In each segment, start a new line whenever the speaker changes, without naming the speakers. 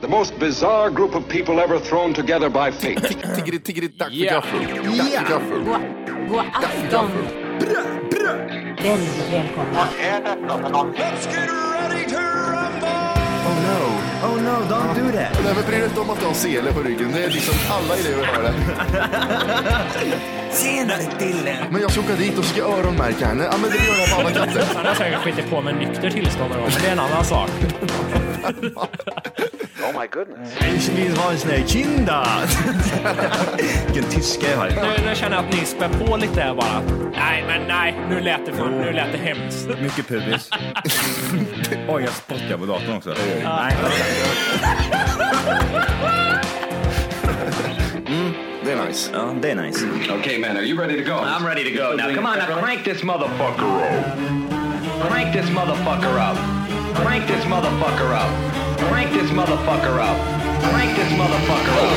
The most bizarre group of people ever thrown together by fate.
Tiggeri, tiggeri, dack för
Ja.
gaffel. Dack för Oh, gaffel.
God afton! Väldigt välkomna.
Oh no.
Oh no, don't do that.
Nej, men bry dig inte om att du har sele på ryggen. Det är liksom alla elever har det.
Senare Dille.
Men jag ska åka dit och ska öronmärka henne. Ja, men det gör jag på alla katter.
Han har säkert skitit på med nykter tillstånd någon gång, men det är en annan sak.
Ich will was ne Kinder. Vilken tyska jag har.
Nu, nu känner jag att ni spär på lite här bara. Nej, men nej, nu lät det, för, nu lät det hemskt.
Mycket pubis. Oj, jag spottar på datorn också. Nej.
Det är nice.
Ja, det är nice.
okay, man, are you ready to go?
I'm ready to go now. Come on, now crank this motherfucker up. Crank this motherfucker up. Crank this motherfucker up. Crank this motherfucker up. Crank this motherfucker up.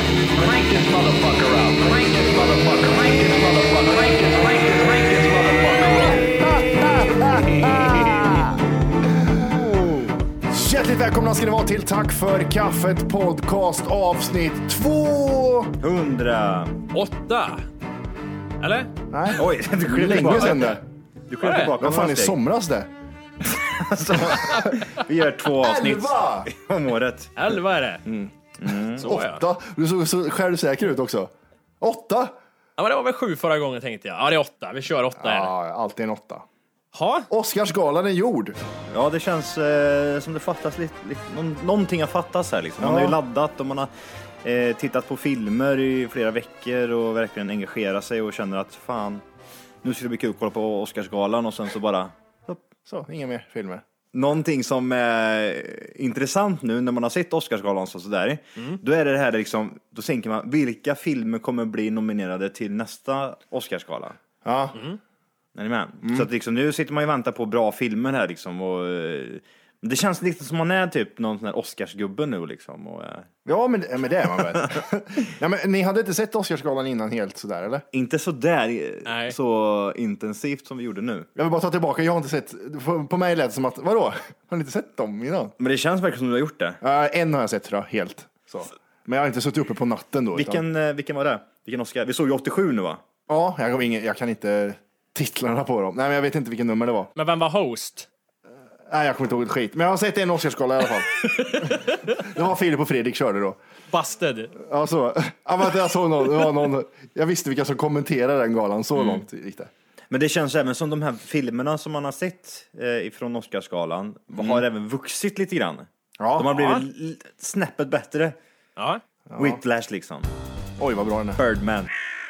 Crank this motherfucker up. Crank this motherfucker. Crank this motherfucker. Crank this. Crank this. Crank this motherfucker up.
Hjärtligt välkomna ska ni vara till Tack för kaffet podcast avsnitt två.
Hundra.
Åtta! Eller?
Nej,
Oj, du
det är
klev
länge
tillbaka.
sedan det.
Du klev tillbaka.
Vad fan är
några steg.
somras det?
Vi gör två avsnitt
Elva!
om året.
Elva är det. Mm. Så ja.
Mm. Åtta. Du såg så självsäker ut också. Åtta?
ja. men det var väl sju förra gången tänkte jag. Ja, det är åtta. Vi kör åtta här.
Ja, alltid en åtta.
Ha?
Oscarsgalan är gjord.
Ja, det känns eh, som det fattas lite, lite någon, någonting har fattats här liksom. Man har ju laddat och man har eh, tittat på filmer i flera veckor och verkligen engagerat sig och känner att fan, nu ska det bli kul att kolla på Oscarsgalan och sen så bara
Så, inga mer filmer.
Någonting som är intressant nu när man har sett Oscarsgalan och sådär, då är det det här liksom, då tänker man vilka filmer kommer bli nominerade till nästa Oscarsgala?
Ja.
Är ni med? Så att liksom, nu sitter man ju och väntar på bra filmer här liksom och eh, det känns lite som man är typ någon sån här Oscarsgubbe nu liksom. Och, eh,
Ja, men, men det är man väl. Nej, men, ni hade inte sett Oscarsgalan innan helt sådär, eller?
inte så där eh,
Nej.
så intensivt som vi gjorde nu.
Jag vill bara ta tillbaka, jag har inte sett. På, på mig lät det som att, vadå? Har ni inte sett dem innan?
Men det känns verkligen som du har gjort det.
Uh, en har jag sett tror jag, helt. Så. Men jag har inte suttit uppe på natten då. Utan,
Vilken, eh, vilken var det? Vilken Oscar? Vi såg ju 87 nu va?
ja, jag, har ingen, jag kan inte titlarna på dem. Nej, men jag vet inte vilken nummer det var.
Men vem var host?
Nej, jag kommer inte ihåg ett skit. Men jag har sett en Oscarsgala i alla fall. det var Filip och Fredrik körde då.
Busted.
Ja, så. Ja, men jag, såg någon, det var någon, jag visste vilka som kommenterade den galan, så långt gick det.
Men det känns även som de här filmerna som man har sett eh, ifrån Oscarsgalan har även vuxit lite grann.
Ja.
De har blivit l- snäppet bättre.
Ja.
Whiplash liksom.
Oj, vad bra den är.
Birdman.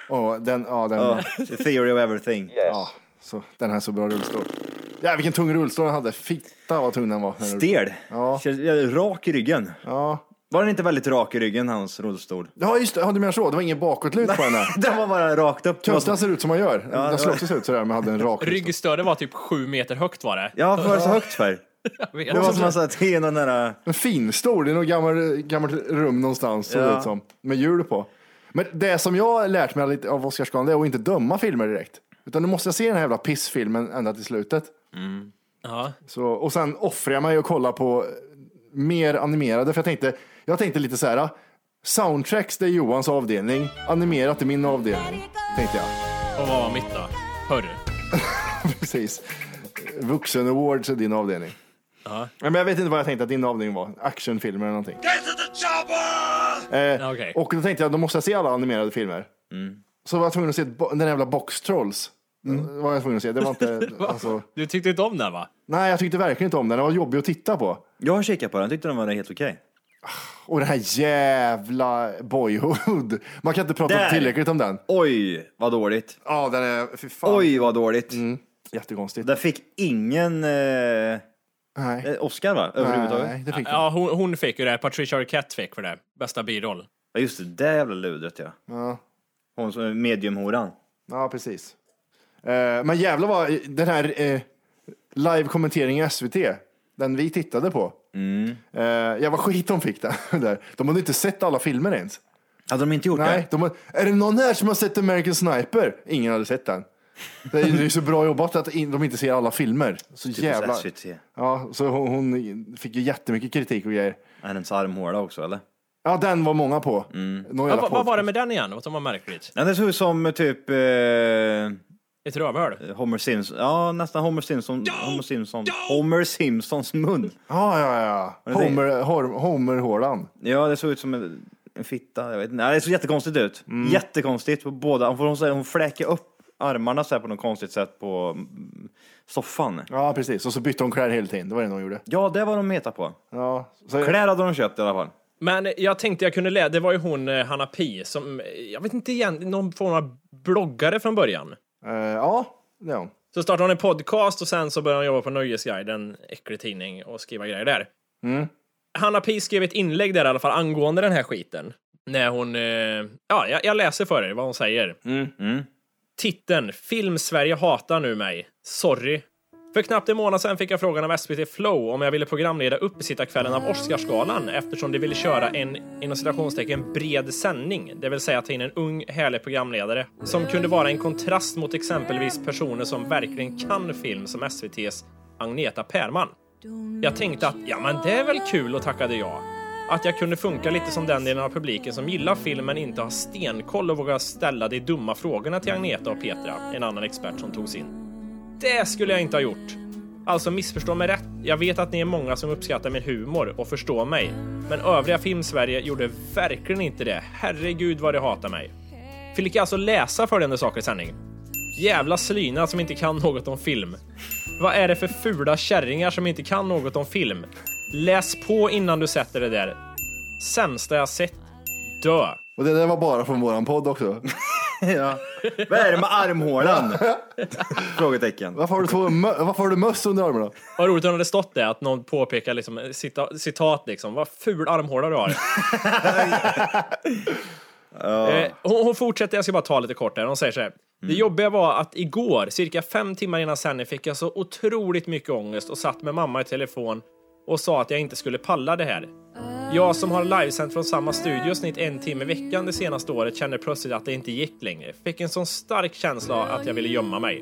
Åh, den, ja, den,
Ja, The theory of everything.
ja, så, den här är så bra rullstol. Ja, vilken tung rullstol den hade. Fitta vad tung den var.
Stel. Känns- ja, Rak i ryggen.
Ja.
Var den inte väldigt rak i ryggen, hans rullstol?
ja, just det. Ja, du menar så. Det var ingen bakåtlut på den här.
Den var bara rakt upp. Det var så-
Kustaren ser ut som han gör. den skulle också se ut sådär, men hade en rak rygg.
Ryggstödet var typ sju meter högt var det.
Ja, för så högt för.
vet.
Det var som man sa att det är någon där... eh,
En fin stol i något gammalt, gammalt rum någonstans, såg det
Ja.
ut som. Med hjul på. Men det som jag har lärt mig lite av Oscarsgalan, det är att inte döma filmer direkt. Utan du måste se den här jävla pissfilmen ända till slutet.
Ja.
Så, och sen offrar jag mig och kollar på mer animerade, för jag tänkte, jag tänkte lite så här. ah, Soundtracks, det är Johans avdelning. Animerat är min avdelning, tänkte jag.
Och vad var mitt då? Hörru.
Precis. Vuxen Awards är din avdelning.
Ja.
Men jag vet inte vad jag tänkte att din avdelning var. Actionfilmer eller någonting. Get to the chopper! Eh,
Okej. Mm.
Och då tänkte jag, då måste jag se alla animerade filmer. Så var jag tvungen att se ett bo- den där jävla Box Trolls. Det var jag tvungen att se. Det var inte, alltså,
Du tyckte inte om den va?
nej, jag tyckte verkligen inte om den. Den var jobbig att titta på.
Jag har kikat på den, tyckte den var helt okej.
Och den här jävla Boyhood. Man kan inte prata
Där!
tillräckligt om den.
Oj, vad dåligt.
Ja, den är, fy fan.
Oj, vad dåligt.
Mm. Jättekonstigt.
Där fick ingen eh,
Nej.
eh, Oscar, va? Överhuvudtaget.
Nej, det fick den.
Ja, hon, hon fick ju det. Patricia Arquette fick för det. Bästa biroll.
Ja just det, det jävla ludret ja.
Ja.
Hon som är mediumhoran.
Ja, precis. Eh, men jävlar vad den här eh, live-kommenteringen i SVT, den vi tittade på. Eh, jag var skit de fick den. Där. De hade inte sett alla filmer ens.
Hade de inte gjort
Nej, de har, är det någon här som har sett American Sniper? Ingen hade sett den. Det är ju så bra jobbat att in, de inte ser alla filmer. Så
Typiskt
jävla...
SVT.
Ja, så hon, hon fick ju jättemycket kritik och grejer.
Är det ens armhåla också eller?
Ja, den var många på. Mm.
Vad, vad, vad var det med den igen? Vad som var märkligt?
Ja, det såg ut som typ eh,
Ett rövhål?
Homer Simpson. Ja, nästan Homer Simpson. Homer Simpson. Homer Simpsons mun.
Ja, ja, ja.
det-
Homer, Hor- Homer-hålan.
Ja, det såg ut som en, en fitta. Jag vet inte. Nej, det såg jättekonstigt ut.
Mm.
Jättekonstigt på båda. Hon, får- hon, så här- hon fläker upp armarna så här på något konstigt sätt på mm, soffan.
Ja, precis. Och så bytte hon kläder hela tiden. Det var det hon gjorde.
Ja, det var de meta på.
Ja, så,
Kläder hade de köpt i alla fall.
Men jag tänkte jag kunde läsa, det var ju hon eh, Hanna Pi som, eh, jag vet inte igen, någon form av bloggare från början.
eh, ja, det är hon.
Så startade hon en podcast och sen så började hon jobba på Nöjesguiden, äcklig tidning, och skriva grejer där. Hanna Pi skrev ett inlägg där i alla fall angående den här skiten. När hon, eh, ja, jag, jag läser för er vad hon säger. Titeln Film Sverige hatar nu mig. Sorry. För knappt en månad sedan fick jag frågan av SVT Flow om jag ville programleda uppesittarkvällen av Oscarsgalan eftersom de ville köra en inom citationstecken bred sändning, det vill säga ta in en ung härlig programledare som kunde vara en kontrast mot exempelvis personer som verkligen kan film som SVTs Agneta Pärman. Jag tänkte att ja, men det är väl kul och tackade jag. Att jag kunde funka lite som den delen av publiken som gillar filmen inte har stenkoll och vågar ställa de dumma frågorna till Agneta och Petra, en annan expert som togs in. Det skulle jag inte ha gjort. Alltså missförstå mig rätt. Jag vet att ni är många som uppskattar min humor och förstår mig. Men övriga Filmsverige gjorde verkligen inte det. Herregud vad de hatar mig. Fick jag alltså läsa följande saker i sändning. Jävla slyna som inte kan något om film. Vad är det för fula kärringar som inte kan något om film? Läs på innan du sätter det där. Sämsta jag sett. Dö.
Och det där var bara från våran podd också.
ja. Vad är det med armhålan? Frågetecken.
Varför har du, två mö- varför har du möss under armarna?
Vad roligt om det hade stått det, att någon påpekar liksom, cita- citat liksom, vad ful armhåla du har. Eh, hon, hon fortsätter, jag ska bara ta lite kort där. Hon säger så här. Det jobbiga var att igår, cirka fem timmar innan sändning, fick jag så otroligt mycket ångest och satt med mamma i telefon och sa att jag inte skulle palla det här. Jag som har livesänt från samma studio snitt en timme i veckan det senaste året kände plötsligt att det inte gick längre. Fick en sån stark känsla av att jag ville gömma mig.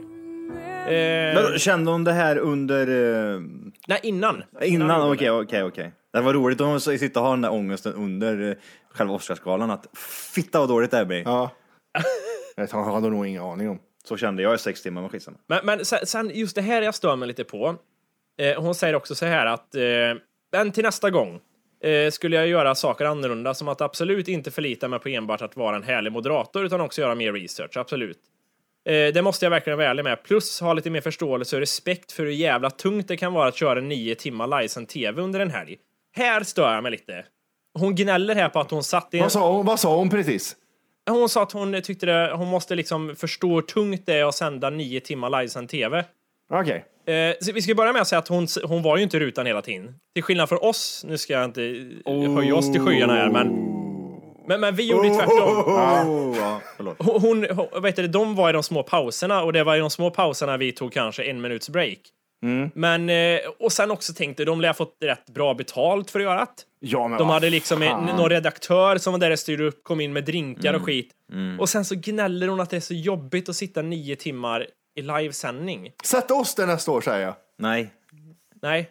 Eh,
Men Kände hon det här under... eh,
nej, innan.
Innan? Okej, okej, okej. Det var roligt om hon så- sitter och har den där ångesten under eh, själva Oscarsgalan. Att fitta vad dåligt det här blir.
Ja. Jag tar- hade nog ingen aning om.
Så kände jag i sex timmar, men skitsamma.
Men, men sen, sen just det här jag stör mig lite på. Eh, hon säger också så här att, eh, men till nästa gång eh, skulle jag göra saker annorlunda, som att absolut inte förlita mig på enbart att vara en härlig moderator, utan också göra mer research, absolut. Eh, det måste jag verkligen vara ärlig med. Plus ha lite mer förståelse och respekt för hur jävla tungt det kan vara att köra nio timmar livesänd tv under en helg. Här stör jag mig lite. Hon gnäller här på att hon satt i en
Vad sa hon, vad sa hon precis?
hon sa att hon tyckte det, hon måste liksom förstå hur tungt det är att sända nio timmar livesänd tv.
Okej.
Eh, så vi ska börja med att säga att hon, hon var ju inte i rutan hela tiden. Till skillnad från oss, nu ska jag inte oh. höja oss till skyarna här, men, men, men vi gjorde ju tvärtom.
Oh, ja, förlåt.
Hon, hon, hon, vet du, de var i de små pauserna och det var i de små pauserna vi tog kanske en minuts break. Men, eh, och sen också tänkte de lär ha fått rätt bra betalt för att göra det.
Ja, men
De
vad
hade liksom en,
fan.
någon redaktör som var där och styrde upp, kom in med drinkar och skit. Och sen så gnäller hon att det är så jobbigt att sitta nio timmar i livesändning.
Sätt oss där nästa år säger jag.
Nej.
Nej,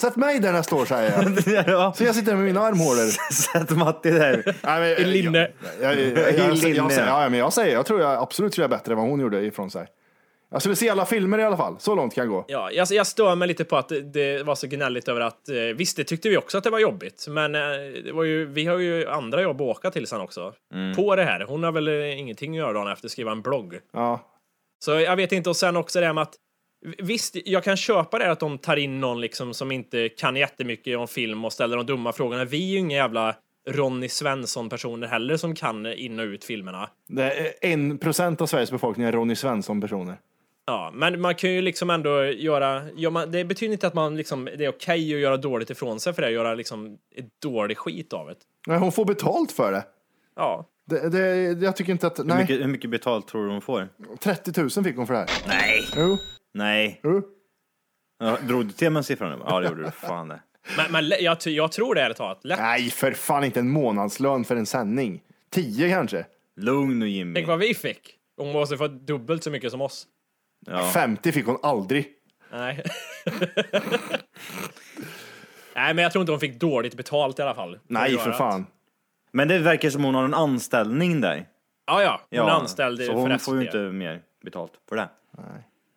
Sätt mig där nästa år säger jag.
ja.
Så jag sitter med mina armhålor.
Sätt Matti där.
Nej, men, eh,
i linne.
Jag, jag, jag, jag, jag,
Linne.
säger, ja, men jag säger, jag tror jag absolut tror jag är bättre än vad hon gjorde ifrån sig. Jag skulle se alla filmer i alla fall. Så långt kan jag gå.
Ja, jag, jag stör mig lite på att det, det var så gnälligt över att eh, visst, det tyckte vi också att det var jobbigt, men eh, det var ju, vi har ju andra jobb att åka till sen också. På det här. Hon har väl eh, ingenting att göra dagen efter, skriva en blogg.
Ja.
Så jag vet inte, och sen också det här med att Visst, jag kan köpa det här att de tar in någon liksom som inte kan jättemycket om film och ställer de dumma frågorna. Vi är ju inga jävla Ronny Svensson-personer heller som kan in och ut filmerna.
Det är en procent av Sveriges befolkning är Ronny Svensson-personer.
Ja, men man kan ju liksom ändå göra... Ja, man, det betyder inte att man liksom, det är okej att göra dåligt ifrån sig för det, göra liksom dålig skit av det.
Nej, hon får betalt för det.
Ja.
det, det jag tycker inte att...
Hur
Nej,
mycket, hur mycket betalt tror du hon får?
30 000 fick hon för det här. Nej! Jo,
Nej.
jo.
Ja, drog du till med en siffra nu? Ja, det gjorde du. Fan det.
Men, men lä- jag, ty- jag tror det är talat. Lätt.
Nej, för fan inte en månadslön för en sändning. 10 kanske?
Lugn nu
Tänk
Jimmy.
vad vi fick. Hon måste få dubbelt så mycket som oss.
Ja.
50 fick hon aldrig.
Nej. Nej, men jag tror inte hon fick dåligt betalt i alla fall.
Nej,
att göra
för
det.
fan.
Men det verkar som hon har en anställning där.
Ja, ja. Hon är anställd
så
för
hon
SVT.
får ju inte mer betalt för det.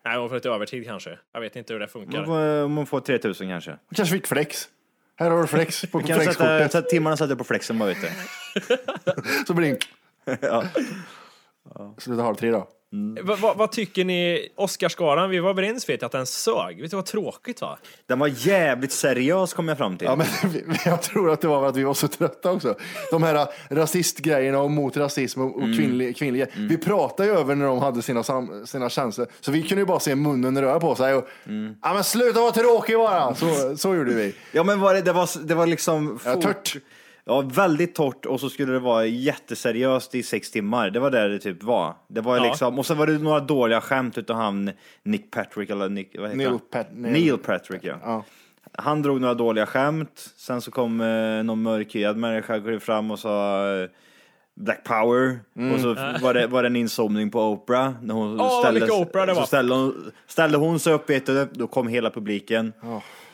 Nej, hon får ett övertid kanske. Jag vet inte hur det
Hon
funkar.
får, om hon får 3000 kanske.
Du kanske fick flex. Här har du flex på
Kan jag sätta,
flexkortet.
sätta timmarna sätter jag på flexen bara ute.
Så blir det en... Sluta halv tre då.
Va- va- vad tycker ni? Oscarsgalan, vi var överens vet jag, att den sög. Vet du vad tråkigt va?
Den var jävligt seriös kom jag fram till.
Ja, men vi- jag tror att det var för att vi var så trötta också. De här äh, rasistgrejerna och mot rasism och, och
Mm.
kvinnlig, kvinnliga. Vi pratade ju över när de hade sina, sam, sina chanser. Så vi kunde ju bara se munnen röra på sig. Och,
Mm.
ja, men sluta vara tråkig bara! Så, så gjorde vi.
Ja men var det, det, var, det var liksom...
Ja, tört.
Ja, väldigt torrt och så skulle det vara jätteseriöst i sex timmar. Det var där det typ var. Det var liksom, och sen var det några dåliga skämt utav han Nick Patrick eller Nick, vad heter
Neil
han?
Pat- Neil-
Neil, Patrick ja.
Ja.
Han drog några dåliga skämt, sen så kom eh, någon mörkhyad människa klev fram och sa eh, Black power, och så var det, var det en insomning på Oprah. När hon
Mm. vad
ställde,
mycket Oprah det
så
var.
ställde, hon, ställde hon sig upp i ett och då kom hela publiken.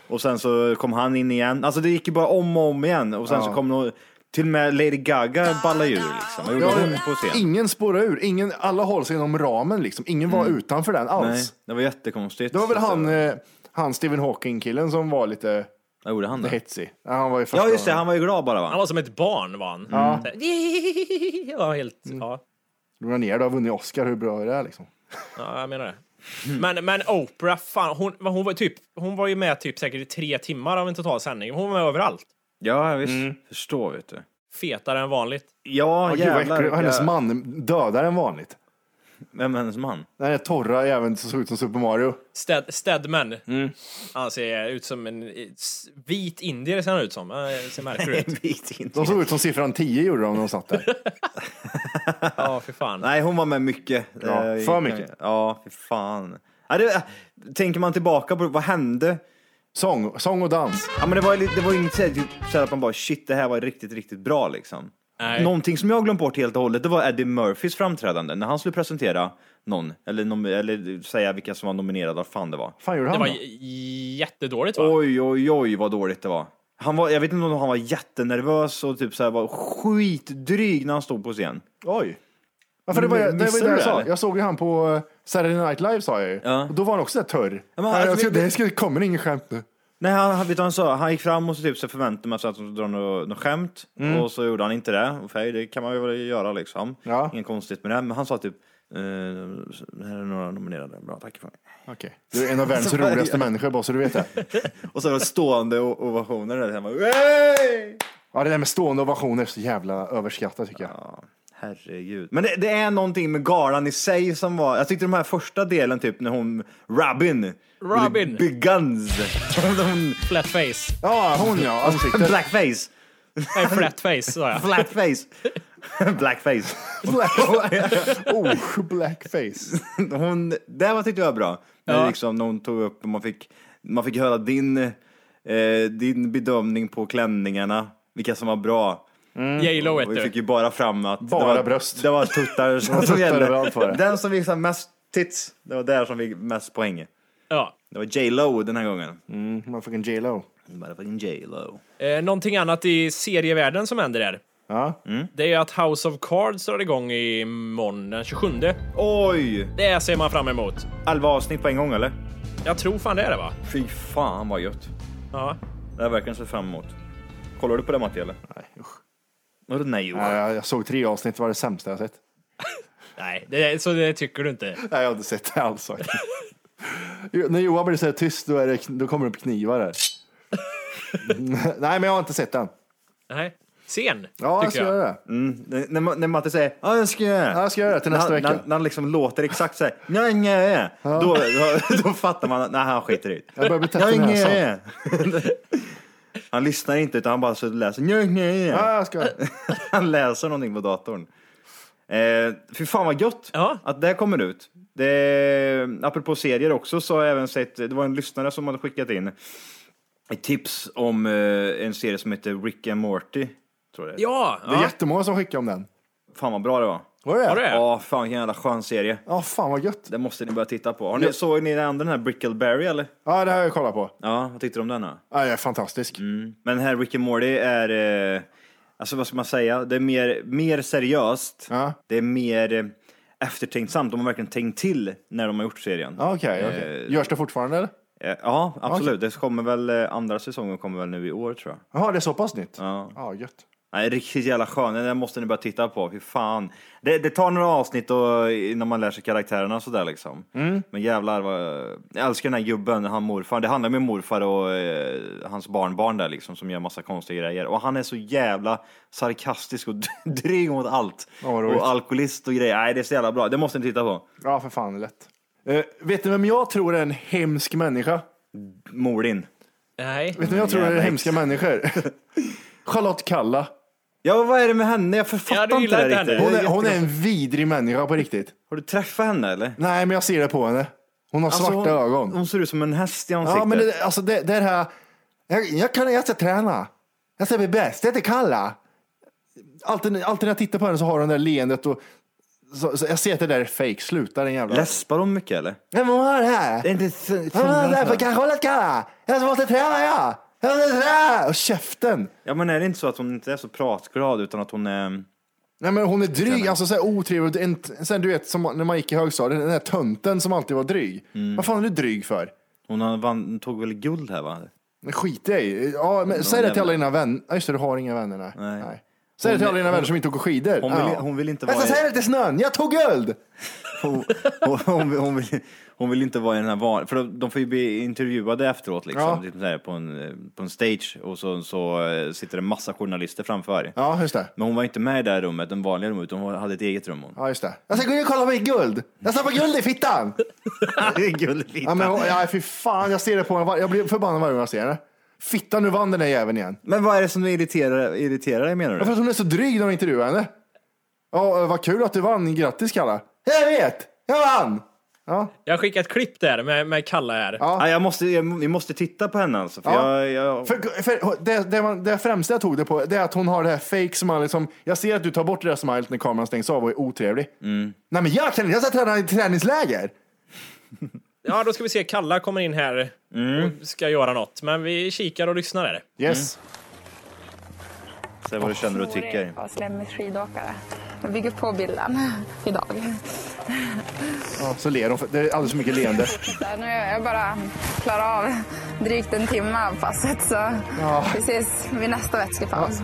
Och sen så kom han in igen. Alltså det gick ju bara om och om igen. Och sen så kom någon, till och med Lady Gaga ballade ur liksom. Vad gjorde hon på scen?
Ingen spårar ur. Ingen, alla håller sig inom ramen. Liksom. Ingen var utanför den alls.
Mm. Nej, det var jättekonstigt.
Det var väl
Så att-
han, eh, han Stephen Hawking-killen som var lite
Vad gjorde han då?
hetsig. Ja, Han var ju första
Ja just det, han var ju glad bara va?
Han var som ett barn var han. Mm. Ja. Ja, helt,
Mm.
ja.
Lugna ner dig, har vunnit Oscar. Hur bra är det här, liksom?
ja, jag menar det. Men, men Oprah, fan, hon, hon, var typ, hon var ju med typ säkert i tre timmar av en total sändning. Hon var med överallt.
Ja visst, förstår vet du.
Fetare än vanligt.
Ja
Åh, Mm. Gud, vad
jävlar.
äcklig. hennes
vilka-
man dödar än vanligt.
Vem är hennes man?
Den här torra jäveln som såg ut som Super Mario.
Stead, Steadman.
Mm.
Han ser ut som en eh, s- vit indier ser han ut som. Eh, Ser märklig ut.
Vit inte.
De såg ut som siffran 10 gjorde de när de satt där.
Ja, för fan.
Nej, hon var med mycket.
Ja,
Eh,
för mycket.
Ja, för fan. Ja, det, äh, tänker man tillbaka på vad hände?
Sång, sång och dans.
Ja, men det var ju lite- det var ju inget så här, typ, så här att man bara shit, det här var riktigt, riktigt bra liksom.
Nej.
Någonting som jag har glömt bort helt och hållet, det var Eddie Murphys framträdande när han skulle presentera någon eller, nom- eller säga vilka som var nominerade, vad fan det var.
fan gjorde
Det
han
var
då?
j- jättedåligt va?
Oj, oj, oj vad dåligt det var. Han var, jag vet inte om han var jättenervös och typ så här var skitdryg när han stod på scen.
Oj. Ja, för det var, det var ju
Missade
det
du
jag
det,
sa.
eller?
Jag såg ju han på eh, Saturday Night Live sa jag ju.
Ja.
Och då var han också där törr.
Ja,
Ja,
men
men, jag
alltså,
tror,
det-
det, ska, det kommer ingen skämt nu.
Nej, han, han, vet du vad han sa? Han gick fram och så typ så förväntade man sig att de drar något, något skämt och så gjorde han inte det. Och för det kan man väl göra liksom.
Ja.
Inget konstigt med det. Men han sa typ, eh, här är några nominerade. Bra, tack för mig.
Okej. Du är en av världens roligaste människor, bara så du vet det.
Och så var det stående o- ovationer där hemma. Hey!
Ja, det där med stående ovationer är så jävla överskattat tycker jag.
Herregud. Men det, det är någonting med galan i sig som var, jag tyckte de här första delen typ när hon, Robin.
Robin.
Big Guns. Hon-
Flat face.
Ja, hon ja. Alltså, Ansiktet.
Blackface.
Nej, flat face sa jag.
Flatface. Blackface.
oh, blackface.
hon, det var tyckte jag var bra. När, liksom, när hon tog upp och man fick, man fick höra din, eh, din bedömning på klänningarna, vilka som var bra.
J-Lo vet
Och Mm. vi fick
du.
ju bara fram att
Bara
det var,
bröst.
Det var tuttar som,
tuttar
som gällde.
överallt var det.
Den som visade mest tits, det var där som fick mest poäng.
Ja.
Det var J Lo den här gången.
Motherfucking J.Lo.
Motherfucking J Lo.
Eh, någonting annat i serievärlden som händer där.
Ja.
Det är ju att House of Cards drar igång imorgon den 27.
Oj!
Det ser man fram emot.
Elva avsnitt på en gång eller?
Jag tror fan det är det va?
Fy fan vad gött.
Ja.
Det här verkar jag se fram emot. Kollar du på det Matti eller?
Nej, usch.
Vadå nej?
Nej,
Johan?
jag, jag såg tre avsnitt, det var det sämsta jag sett.
Nej, det, så det tycker du inte.
Nej, jag har inte sett det alls. faktiskt. Jo, När Johan blir så här tyst, då, är det, då kommer det upp knivar här. Nej, men jag har inte sett den.
Nej. Sen,
Ja, jag
tycker
ska
jag.
göra det.
När, när, Ma- när Matte säger ja, jag ska göra det.
Ja, jag ska göra det till
När
nästa
han-
vecka.
När, han- när han liksom låter exakt så här, nej, nej, nej. Då, då, då fattar man att nej, han skiter i det.
Jag börjar bli täppt i
Nej, nej,
näsan.
nej. Han lyssnar inte utan han bara så läser nej, nej, nej.
Ja, jag ska.
Han läser någonting på datorn. Eh, fy fan vad gött
Ja.
att det kommer ut. Det, apropå serier också så har jag även sett, det var en lyssnare som hade skickat in ett tips om eh, en serie som heter Rick and Morty. Tror jag.
Ja,
Det är
ja.
jättemånga som skickar om den.
Fan vad bra det var.
Var det
Har du
det?
det?
Ja, fan vilken jävla skön serie.
Ja, fan vad gött.
Det måste ni börja titta på. Har ni, såg ni den andra, den här Brickleberry eller?
Ja, det här har jag kollat på.
Ja, vad tyckte du om Mm. den då?
Ja, det är fantastisk.
Men den här Rick and Morty är... Eh, alltså vad ska man säga, det är mer, mer seriöst.
Ja.
Det är mer eh, eftertänksamt. De har verkligen tänkt till när de har gjort serien.
Ja, Okej, okej. Görs det fortfarande eller?
Eh, Ja, absolut. Det kommer väl, eh, andra säsongen kommer väl nu i år tror jag.
Jaha, det är så pass nytt?
Ja.
Ja, gött.
Nej, riktigt jävla skön. Den där måste ni bara titta på. Hur fan. Det, det tar några avsnitt och, innan man lär sig karaktärerna och sådär liksom.
Mm.
Men jävlar vad... Jag älskar den här gubben, han morfar. Det handlar med morfar och eh, hans barnbarn där liksom som gör massa konstiga grejer. Och han är så jävla sarkastisk och dryg mot allt.
Ja, vad roligt.
och alkoholist och grejer. Nej, det är så jävla bra. Det måste ni titta på.
Ja, för fan, det är lätt. Eh, vet ni vem jag tror är en hemsk människa?
Molin.
Nej.
Vet ni vem jag tror är
Jävla
hemska människor? Charlotte Kalla.
Ja, vad är det med henne? Jag författar
Ja, du
inte
gillar
det
inte
riktigt.
henne.
Hon är, hon är en vidrig människa på riktigt.
Har du träffat henne eller?
Nej, men jag ser det på henne. Hon har
Alltså,
svarta
hon,
ögon.
Hon ser ut som en häst i ansiktet.
ja, men det, alltså det, det här... Jag, jag kan jag ska träna. Jag ska bli bäst. Jag heter Kalla. Alltid, alltid när jag tittar på henne så har hon det där leendet och så, så jag ser att det där är fake. Sluta den jävla...
Läspar de mycket eller?
Nej, men vad är det här?
Det är inte så,
Ja, därför kan jag hålla kalla. Jag måste träna, ja. Jag måste träna. Och käften.
ja men är det inte så att hon inte är så pratglad utan att hon eh, är...
Nej, men hon är dryg, alltså så här otrevlig. En, sen du vet, som när man gick i högstadiet, den där tönten som alltid var dryg. Vad fan är du dryg för?
Hon har vann, tog väl guld här va?
Men Skit i dig. Ja, men säg det till alla dina vänner. Ja, just det, du har inga vänner. Nej.
Nej.
Säg det till
Hon-
alla dina vänner som inte åker skidor.
Hon vill-
ja.
hon vill inte
Jag ska
vara i-
säga det till snön. Jag tog guld!
Hon, hon, hon, vill- hon, vill, hon vill inte vara i den här van... För de, de får ju bli intervjuade efteråt liksom.
Ja.
Typ så här, på, en, eh, på en stage och så, så eh, sitter det massa journalister framför.
Ja, just det.
Men hon var inte med i det här rummet, den vanliga rummet, utan hon hade ett eget rum hon.
Ja, just det. Jag ska gå in och kolla på mitt guld. Jag stoppar guld i fittan.
Guldfitta.
Ja, men, hon- ja, fy fan. Jag ser det på henne. var- Jag blir förbannad varje gång jag ser henne. Fittan, nu vann den där jäveln igen.
Men vad är det som irriterar, irriterar dig menar du?
Varför att hon är så dryg när de intervjuar henne? Ja, vad kul att du vann. Grattis Kalle. Jag vet, jag vann. Ja,
Jag skickade ett klipp där med, med Kalla här.
Ja.
Ja, jag måste, jag, vi måste titta på henne alltså. För
Ja.
jag, jag,
för, för det, det, man, det främsta jag tog det på det är att hon har det här fake som liksom, jag ser att du tar bort det där smilet när kameran stängs av och är otrevlig. Nej men jag kan inte, jag ska träna i träningsläger.
Ja, då ska vi se. Kalla kommer in här och ska göra något. Men vi kikar och lyssnar där.
Yes.
Säg vad du känner och tycker.
Avslöjad skidåkare. Jag bygger på bilden idag.
Ja, så ler hon, för det är alldeles för mycket leende.
Där nu är jag bara klarar av drygt en timme av passet så
Ja.
vi ses vid nästa vätskepaus.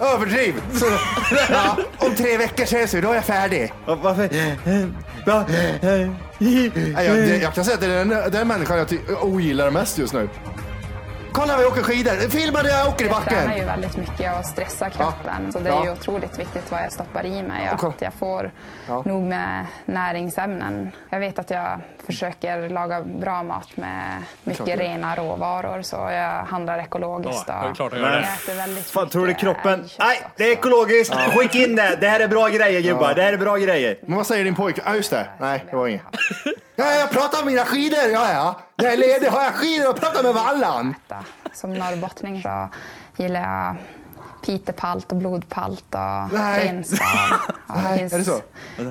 Överdriv! Så, ja, om tre veckor så är det så, då är jag färdig.
Ja, Varför? Va?
Nej, Jag,
Mm.
det, jag kan säga att det är den, den människan jag ty- ogillar mest just nu. Kolla vad jag åker skidor! Filma när jag åker i
Jag
backen!
tränar ju väldigt mycket och stressar kroppen så det är
Ja.
ju otroligt viktigt vad jag stoppar i mig och
kolla.
att jag får
Ja.
nog med näringsämnen. Jag vet att jag försöker laga bra mat med mycket
du gör.
rena råvaror så jag handlar ekologiskt.
Ja, det är
och
klart jag gör
jag
det.
äter väldigt
Fan, tror du
mycket
kroppen?
kött
Nej, det är
också.
ekologiskt. Skicka in det. Det här är bra grejer gubbar. Det här är bra grejer.
Men vad säger din pojke? Ja, just det. Nej, det var inget. Ja, jag pratar om mina skidor! Ja, ja. Jag är ledig, har jag skidor och pratar med Vallan!
äta. Som norrbottning så gillar jag pitepalt och blodpalt och
Nej.
renskav. Ja,
Nej,
finns
är det så?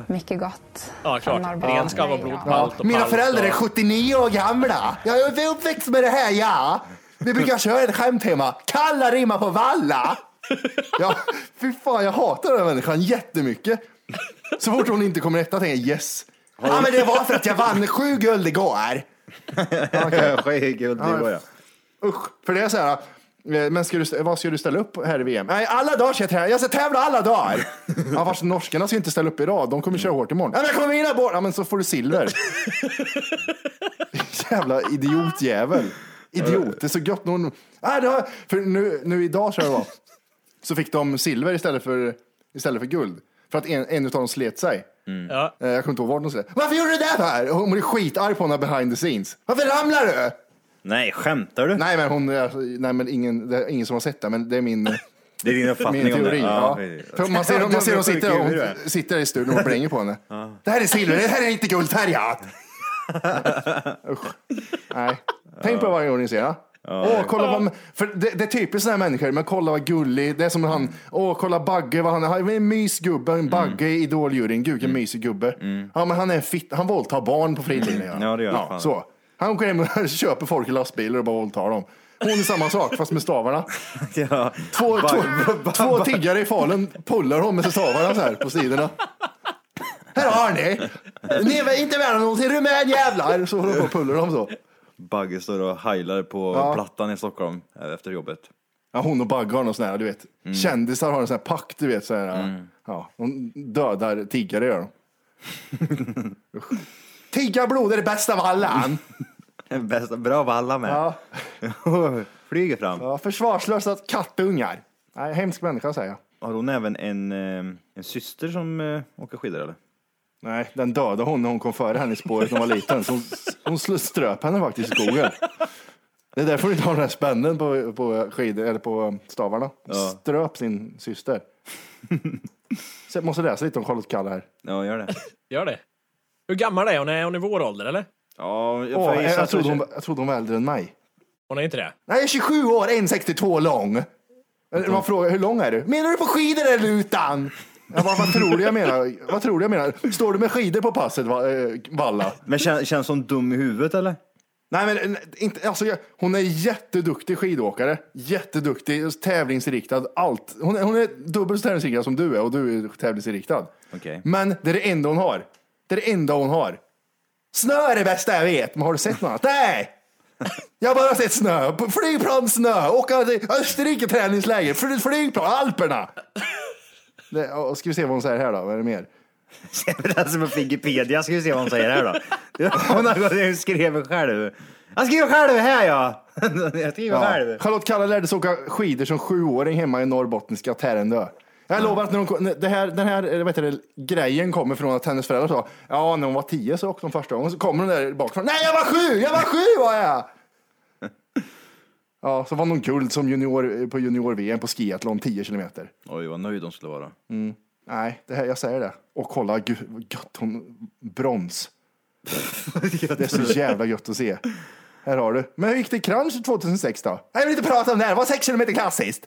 Mycket gott.
Ja,
från
klart.
Norrbotten.
Ren ska vara
Ja.
blodpalt och
Mina
palt
föräldrar är
och-
79 år gamla. Jag är uppväxt med det här, ja. Vi brukar köra ett skämttema. Kalla rimmar på valla. Ja, fy fan, jag hatar den här människan jättemycket. Så fort hon inte kommer rätta tänker jag yes. Ja, men det var för att jag vann sju guld igår.
Guld, det går, ja.
Usch, för det är så här. eh, Men ska du, vad ska du ställa upp här i VM? Nej, alla dagar ska jag tävla. Jag ska tävla alla dagar. Ja, fast norskarna ska ju inte ställa upp idag. De kommer köra hårt imorgon. Ja, men jag kommer vinna båda. Ja, men så får du silver. Jävla idiotjävel. Idiot. Det är så gött när hon... Nej, det har... För nu, nu idag tror jag det var. Så fick de silver istället för, istället för guld. För att en, en av dem slet sig.
Ja.
Eh, Jag kommer inte ihåg var de slet. Varför gjorde du det där? Hon blir skitarg på henne behind the scenes. Varför ramlar du?
Nej, skämtar du?
Nej, men, hon, alltså, nej, men ingen, det är ingen som har sett det, men det är min,
Det är din uppfattning
min teori.
om det.
Ja. För Man ser man ser hon sitter,
Sjuk i huvudet.
hon sitter där i studion och blänger på henne. Det här är silver, det här är inte guldfärgat. Usch. Nej. Tänk på det varje gång ni ser det. Åh, kolla vad, för det, det är typiskt sådana här människor, men kolla vad gullig, det är som han, åh kolla Bagge, vad han är, han är en mysgubbe,
Mm.
en Bagge i idoljuryn, gud vilken mysig gubbe. Ja men han är en fitt, han våldtar barn på fritiden.
Ja, det gör han.
så. Han åker hem och köper folk i lastbilar och bara våldtar dem. Hon är samma sak fast med stavarna.
Ja.
Två,
Bara-
två, två tiggare i Falun pullar hon med sig stavarna så här på sidorna. Här har ni! Ni är inte värda någonting, rumän jävlar! Så håller hon på och pullar dem så.
Bagge står och heilar på
Ja.
Plattan i Stockholm eh, efter jobbet.
Ja, hon och Bagge har någon sån här, du vet.
Mm.
Kändisar har en sån här pakt, du vet. Så här, ja, de dödar tiggare gör de. Usch. Tiggarblod är det bästa av alla!
Bästa, bra valla med.
Ja,
Flyger fram.
ja, försvarslösa kattungar. Nej, hemsk människa säger jag.
Har hon även en, eh, en syster som eh, åker skidor eller?
Nej, den dödade hon när hon kom före henne i spåret när hon var liten. Så hon, hon sl- ströp henne faktiskt i skogen. Det är därför hon inte har den här spännen på, på, skidor, eller på stavarna. Hon Ströp sin syster. Så jag måste läsa lite om Charlotte Kalla här.
Ja, gör det.
Gör det. Hur gammal är hon? Är hon i vår ålder eller?
Ja, jag,
Åh,
får
jag,
gissa
jag,
att hon
trodde hon,
kö-
jag trodde hon var äldre än mig.
Hon är inte det?
Nej, jag är 27 år, 1,62 lång. Eller, Man frågar, hur lång är du? Menar du på skidor eller utan? Ja, vad, vad tror du jag menar? Vad tror du jag menar? Står du med skidor på passet, va, eh, Valla?
Men kän, känns hon dum i huvudet eller?
Nej, men eh, inte, alltså, jag, hon är jätteduktig skidåkare. Jätteduktig, tävlingsinriktad, allt. Hon, är- hon är dubbelt så tävlingsinriktad som du är och du är tävlingsinriktad.
Okej.
Men det är det enda hon har. Det är det enda hon har. Snö är det bästa jag vet, men har du sett något annat? Nej! Jag har bara sett snö. P- Flygplan, snö, åka till Österrike träningsläger, Fly- flygplan, Alperna. Det, och ska vi se vad hon säger här då? Vad är det mer?
alltså på Wikipedia ska vi se vad hon säger här då. Hon har gått och skrivit själv. Han skriver själv här ja! Jag skriver
Ja.
själv.
Charlotte Kalla lärde sig åka skidor som sjuåring hemma i norrbottniska Tärendö. Jag lovar att när hon, kom- när det här, den här eh, vad heter det, grejen kommer från att hennes föräldrar sa ja, när hon var tio så åkte hon första gången. Så kommer hon där bakifrån. Nej, jag var sju! Jag var sju var jag! Ja, så vann hon guld som junior, eh, på junior-VM på skiathlon 10 kilometer.
Oj, vad nöjd hon skulle vara.
Nej, det här, jag säger det. Och kolla, gud, vad gött, hon brons. Det är så jävla gött att se. Här har du. Men hur gick det i crunch 2006 då? Jag vill inte prata om det här, det var 6 kilometer klassiskt.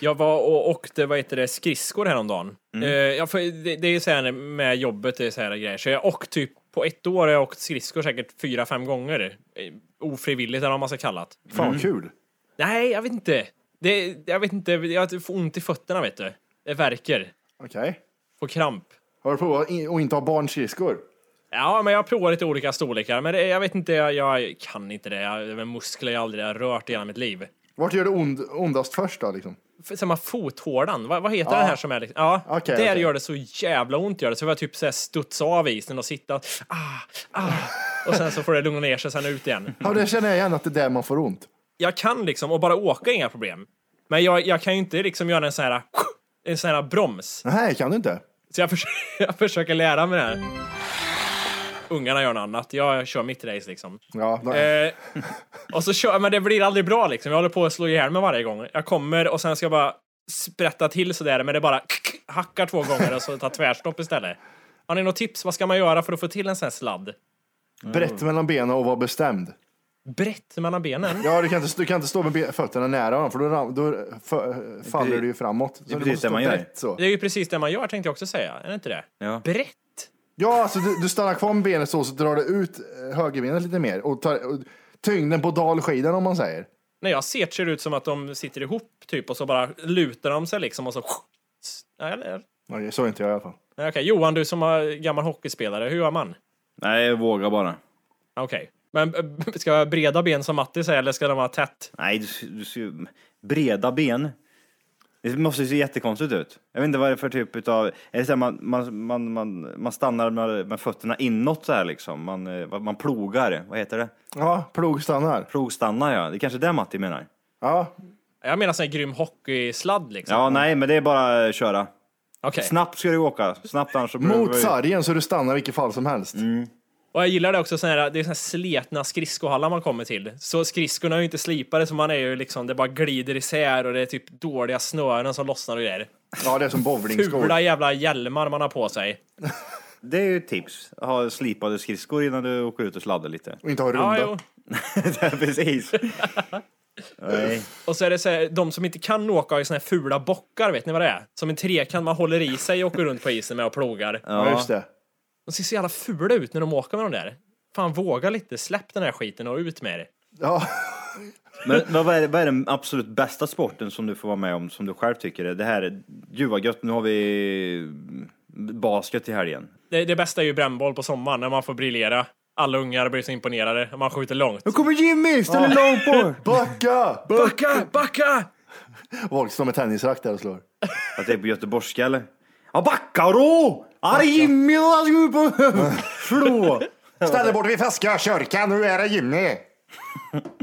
Jag var och åkte vad heter det, skridskor häromdagen. Mm. jag, får- det, det är så här med jobbet, det är så här grejer. Så jag åkt typ på ett år har jag åkt skridskor säkert fyra, fem gånger. Eh, Ofrivilligt eller vad man ska kalla det.
Fan
Mm.
vad kul.
Nej, jag vet inte. Det, jag vet inte, jag får ont i fötterna vet du. Det värker.
Okej.
Får kramp.
Har du provat att inte ha barnskridskor?
Ja, men jag provar lite olika storlekar. Men det, jag vet inte, jag, jag kan inte det. Jag, det är muskler jag aldrig har rört i hela mitt liv.
Vart gör det ond, ondast först då? Liksom?
F- Samma fothålan, vad, vad heter den här som är liksom? Ja,
Okej,
där
okej.
gör det så jävla ont gör det. Så jag typ så här studsa av isen och sitta och, ah, ah, och sen så får det lugna ner sig sen ut igen.
Ja, det känner jag igen att det är där man får ont.
Jag kan liksom, och bara åka inga problem. Men jag, jag kan ju inte liksom göra en sån här, en sån här broms.
Nej, kan du inte?
Så jag, försöker- jag försöker lära mig det här. Ungarna gör något annat, jag kör mitt race liksom.
Ja, då,
Eh, och så kör, men det blir aldrig bra liksom. Jag håller på att slå ihjäl mig varje gång. Jag kommer och sen ska jag bara sprätta till sådär, men det bara hackar två gånger och så tar tvärstopp istället. Har ni något tips? Vad ska man göra för att få till en sån här sladd?
brett mellan benen och var bestämd.
Brett mellan benen?
Ja, du kan inte, du kan inte stå med be- fötterna nära dem för då, ram- då f- faller du ju framåt. Så
det är
du
precis
måste
det man
stå
gör.
brett Så.
Det är ju precis det man gör, tänkte jag också säga. Är det inte det?
Ja.
Brett?
Ja, alltså du, du stannar kvar med benet så, så drar du ut eh, högerbenet lite mer och tar och, tyngden på dalskidan om man säger.
När jag ser ser det ut som att de sitter ihop typ och så bara lutar de sig liksom och så... Ja, eller?
Okej, så är inte jag i alla fall.
Nej, Okej, Johan, du som är gammal hockeyspelare, hur gör man?
Nej, jag vågar bara.
Okej. Men eh, ska jag ha breda ben som Matti säger, eller ska de vara tätt?
Nej, du, du ser ju breda ben. Det måste ju se jättekonstigt ut. Jag vet inte vad det är för typ utav... Är det så här man, man, man, man, man stannar med, med fötterna inåt så här liksom? Man, eh, vad- man plogar, vad heter det?
Ja, plog stannar.
Plogstannar ja, det är kanske det Matti menar?
Ja,
Jag menar sån här grym hockeysladd liksom.
Ja, nej, men det är bara att köra.
Okej.
Snabbt ska du åka, snabbt annars så...
mot sargen så du stannar i vilket fall som helst.
Och jag gillar det också, sån här, det är såna här sletna skridskohallar man kommer till. Så skridskorna är ju inte slipade, så man är ju liksom, det bara glider isär och det är typ dåliga snören som lossnar och grejer.
Ja, det är som bowlingskor.
Fula jävla hjälmar man har på sig.
Det är ju ett tips. Ha slipade skridskor innan du åker ut och sladdar lite.
Och inte ha
Ja,
runda.
jo.
Precis. Nej.
Och så är det så här, de som inte kan åka har ju såna här fula bockar, vet ni vad det är? Som en trekant man håller i sig och åker runt på isen med och plogar.
ja, just det.
De ser så jävla fula ut när de åker med de där. Fan, våga lite, släpp den här skiten och ut med det.
Ja.
Men vad vad är, vad är den absolut bästa sporten som du får vara med om, som du själv tycker är? Det här, är- gud vad gött, nu har vi basket i helgen.
Det, det bästa är ju brännboll på sommaren när man får briljera. Alla ungar blir så imponerade. Man skjuter långt.
Nu kommer Jimmy, ställer långt på!
Backa!
Backa! Backa!
Folk står med tennisrack där och slår.
Att det är på göteborgska eller? Ja, backa då! Arg Jimmy, han ska ut på slå!
Ställ bort vid Fäska kyrka, nu är det Jimmy!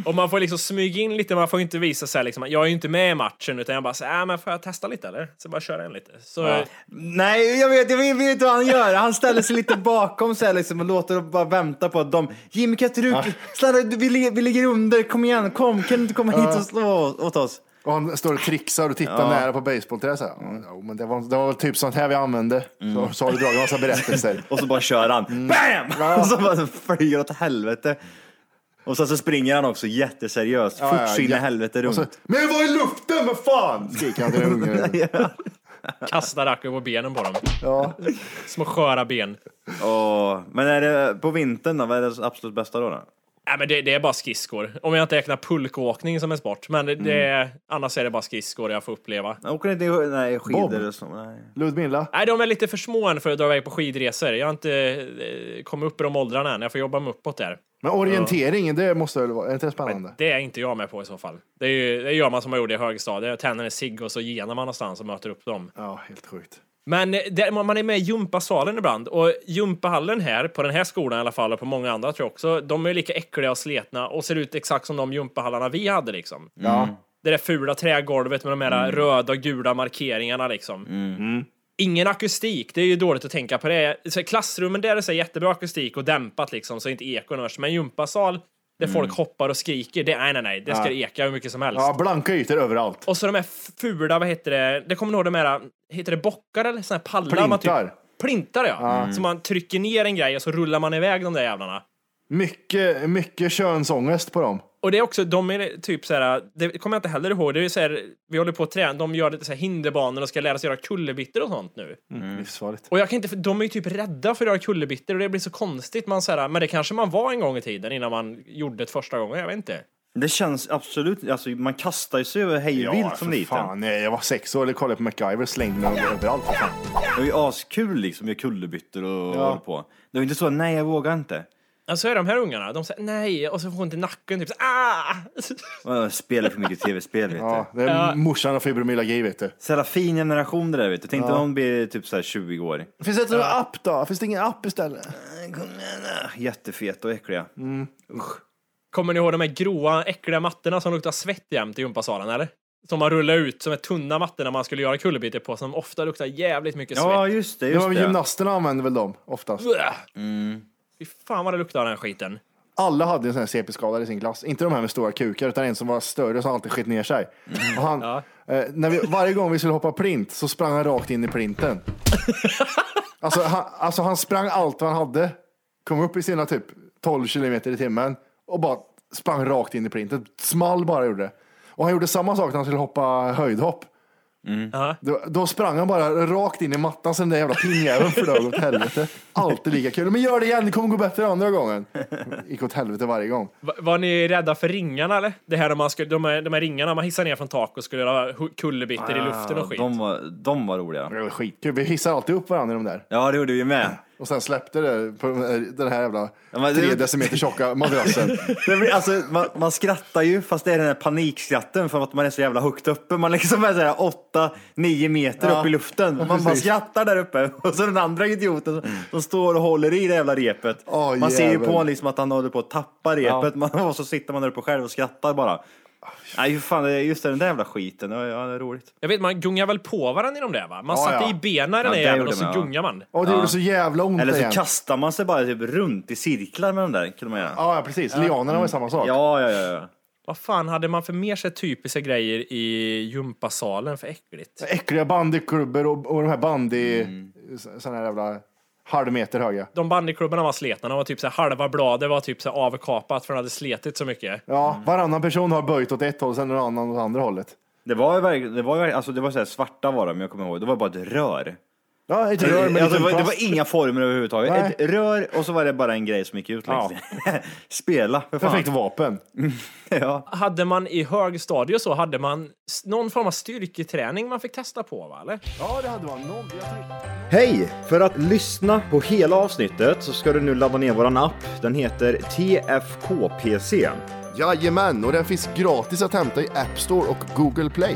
Och man får liksom smyga in lite, man får inte visa sig liksom, jag är ju inte med i matchen utan jag bara säger, äh, men får jag testa lite eller? Så bara köra en lite. Så,
Nej, jag vet, jag vet, jag vet vad han gör. Han ställer sig lite bakom så här liksom och låter och bara vänta på att de... Jimmy, kan inte du... Snälla, du- vi, ligger- vi ligger under. Kom igen, kom. Kan du inte komma hit och slå åt oss?
Och han står och trixar och tittar nära på basebollträ så här. Mm, ja, men det var, det var väl typ sånt här vi använde. Så, så har du dragit en massa berättelser.
Och så bara kör han. Bam! Och så bara flyger åt helvete. Och sen så springer han också jätteseriöst.
Ja,
fort
ja,
så in i
ja.
helvete runt.
Så, men vad är luften, vad fan! Skriker han till den ungen.
kastar racken på benen på dem. Små sköra ben.
Åh, men är det på vintern då? Vad är det absolut bästa då? då?
Nej, Äh, men det, det är bara skridskor. Om jag inte räknar pulkåkning som en sport. Men det, det, är- annars är det bara skridskor jag får uppleva.
Jag åker inte i- nej,
Bob.
skidor och så. Nej.
Ludmilla,
Nej, de är lite för små än för att dra iväg på skidresor. Jag har inte eh, kommit upp i de åldrarna än. Jag får jobba mig uppåt där.
men orientering, det måste väl vara, är inte det spännande?
Det är inte jag med på i så fall. Det, är ju, det gör man som man gjorde i högstadiet. Tänder en cigg och så genar man någonstans och möter upp dem.
Ja, helt sjukt.
Men eh, där, man man är med i gympasalen ibland och gympahallen här, på den här skolan i alla fall och på många andra tror jag också, de är lika äckliga och sletna och ser ut exakt som de gympahallarna vi hade liksom.
Ja. Mm.
Det där fula trägolvet med de här röda och gula markeringarna liksom.
Mm.
Ingen akustik, det är ju dåligt att tänka på det. Så klassrummen där är så här jättebra akustik och dämpat liksom, så inte ekon hörs. Men gympasal där folk hoppar och skriker, det, nej nej nej, det ska det eka hur mycket som helst.
Mm. ja, blanka ytor överallt.
Och så de här fula, vad heter det? Det kommer nog de här, heter det bockar eller såna här pallar? man
Plintar.
Typ, plintar ja. Så man trycker ner en grej och så rullar man iväg de där jävlarna.
Mycket, mycket könsångest på dem.
Och det är också, de är typ så här, det kommer jag inte heller ihåg, det är ju så här, vi håller på att träna, de gör lite så här hinderbanor och ska lära sig göra kullerbyttor och sånt nu.
Mm. Livsfarligt.
Och jag kan inte, för de är ju typ rädda för att göra kullerbyttor och det blir så konstigt, man så här, men det kanske man var en gång i tiden innan man gjorde det första gången, jag vet inte.
Det känns absolut, alltså man kastar ju sig över hejvilt som
för
liten.
fan. Nej, jag var sex år och kollade på MacGyver och slängde mig överallt. för fan.
Det är ju askul liksom, gör kullerbyttor och
Ja.
håller på. Det är ju inte så, nej jag vågar inte.
Ja, så är de här ungarna, de säger nej, och så får hon inte nacken, typ så, ah!
Jag spelar för mycket tv-spel vet
Ja,
du.
det är morsan och farbror Milla Gay, vet du.
Så jävla fin generation det där vet du. Tänk dig om de blir typ så här 20 år.
Finns det inte någon app då? Finns det ingen app istället?
Jättefeta och äckliga.
Mm.
Kommer ni ihåg de här gråa, äckliga mattorna som luktar svett jämt i gympasalen, eller? Som man rullar ut som är tunna mattor när man skulle göra kullerbyte på, som ofta luktar jävligt mycket svett.
Ja just det,
Ja,
just
men
det.
gymnasterna använde väl dem oftast.
Bäh!
Mm.
Fy fan vad det luktar av den skiten.
Alla hade en sån här CP-skadad i sin klass. Inte de här med stora kukar, utan en som var större som alltid skit ner sig. Och han, eh, när vi, varje gång vi skulle hoppa plint så sprang han rakt in i plinten. alltså, han, alltså han sprang allt vad han hade, kom upp i sina typ 12 kilometer i timmen och bara sprang rakt in i plinten. Small bara gjorde det. Och han gjorde samma sak när han skulle hoppa höjdhopp.
Ja.
Då, då sprang han bara rakt in i mattan så den där jävla pinnjäveln flög åt helvete. Alltid lika kul. Men gör det igen, det kommer gå bättre andra gången. Gick åt helvete varje gång.
Va- Var ni rädda för ringarna eller? Det här när man skulle, de, här, de här ringarna man hissar ner från tak och skulle göra hu- kullerbyttor i luften och skit.
de, var, de var roliga.
Det var skitkul. Vi hissade alltid upp varandra i de där.
Ja det gjorde vi med.
Och sen släppte det på den här jävla
Ja, men det-
tre decimeter tjocka madrassen.
Det blir, alltså, man, man skrattar ju fast det är den här panikskatten för att man är så jävla högt uppe. Man liksom är så här 8-9 meter
Ja.
upp i luften.
Ja,
Man, man
precis. Mm.
skrattar där uppe och så den andra idioten som, som står och håller i det jävla repet.
Åh,
man ser ju på
jävel.
honom liksom att han håller på att tappa repet man, och så sitter man där uppe själv och skrattar bara. Nej, hur fan, det är just det, den där jävla skiten. Ja, ja, det är roligt.
Jag vet, man gungar väl på varandra i de där va? Man
Ja,
satte
ja.
i benen i
Ja,
den där
det
jäveln
gjorde
och så
man, ja.
gungar man.
Och det gjorde så jävla ont
Eller så
igen.
kastar man sig bara typ runt i cirklar med de där. Kunde man göra.
Ja, ja, precis. Lianerna var ju samma sak.
Ja, ja, ja. ja.
Vad fan hade man för mer så här typiska grejer i gympasalen för äckligt?
Äckliga bandyklubbor och, och de här bandy... Mm. Såna här jävla halvmeter höga.
de bandyklubbarna var sletna, de var typ så här, halva bladet var typ så här avkapat för de hade sletit så mycket.
Ja, varannan person har böjt åt ett håll, sen en annan åt andra hållet.
Det var ju verkligen, det var ju verkligen, alltså det var så här svarta var de, jag kommer ihåg. Det var bara ett rör.
Ja, ett rör med liten
alltså, det, var, det
plast.
var inga former överhuvudtaget.
Nej.
Ett rör och så var det bara en grej som gick ut. Liksom. Spela, för fan.
Perfekt vapen.
Ja.
Hade man i högstadiet så hade man s- någon form av styrketräning man fick testa på, va? Eller?
Ja, det hade man. Någon, jag tror-
Hej! För att lyssna på hela avsnittet så ska du nu ladda ner våran app. Den heter TFKPC.
Jajamän, och den finns gratis att hämta i App Store och Google Play.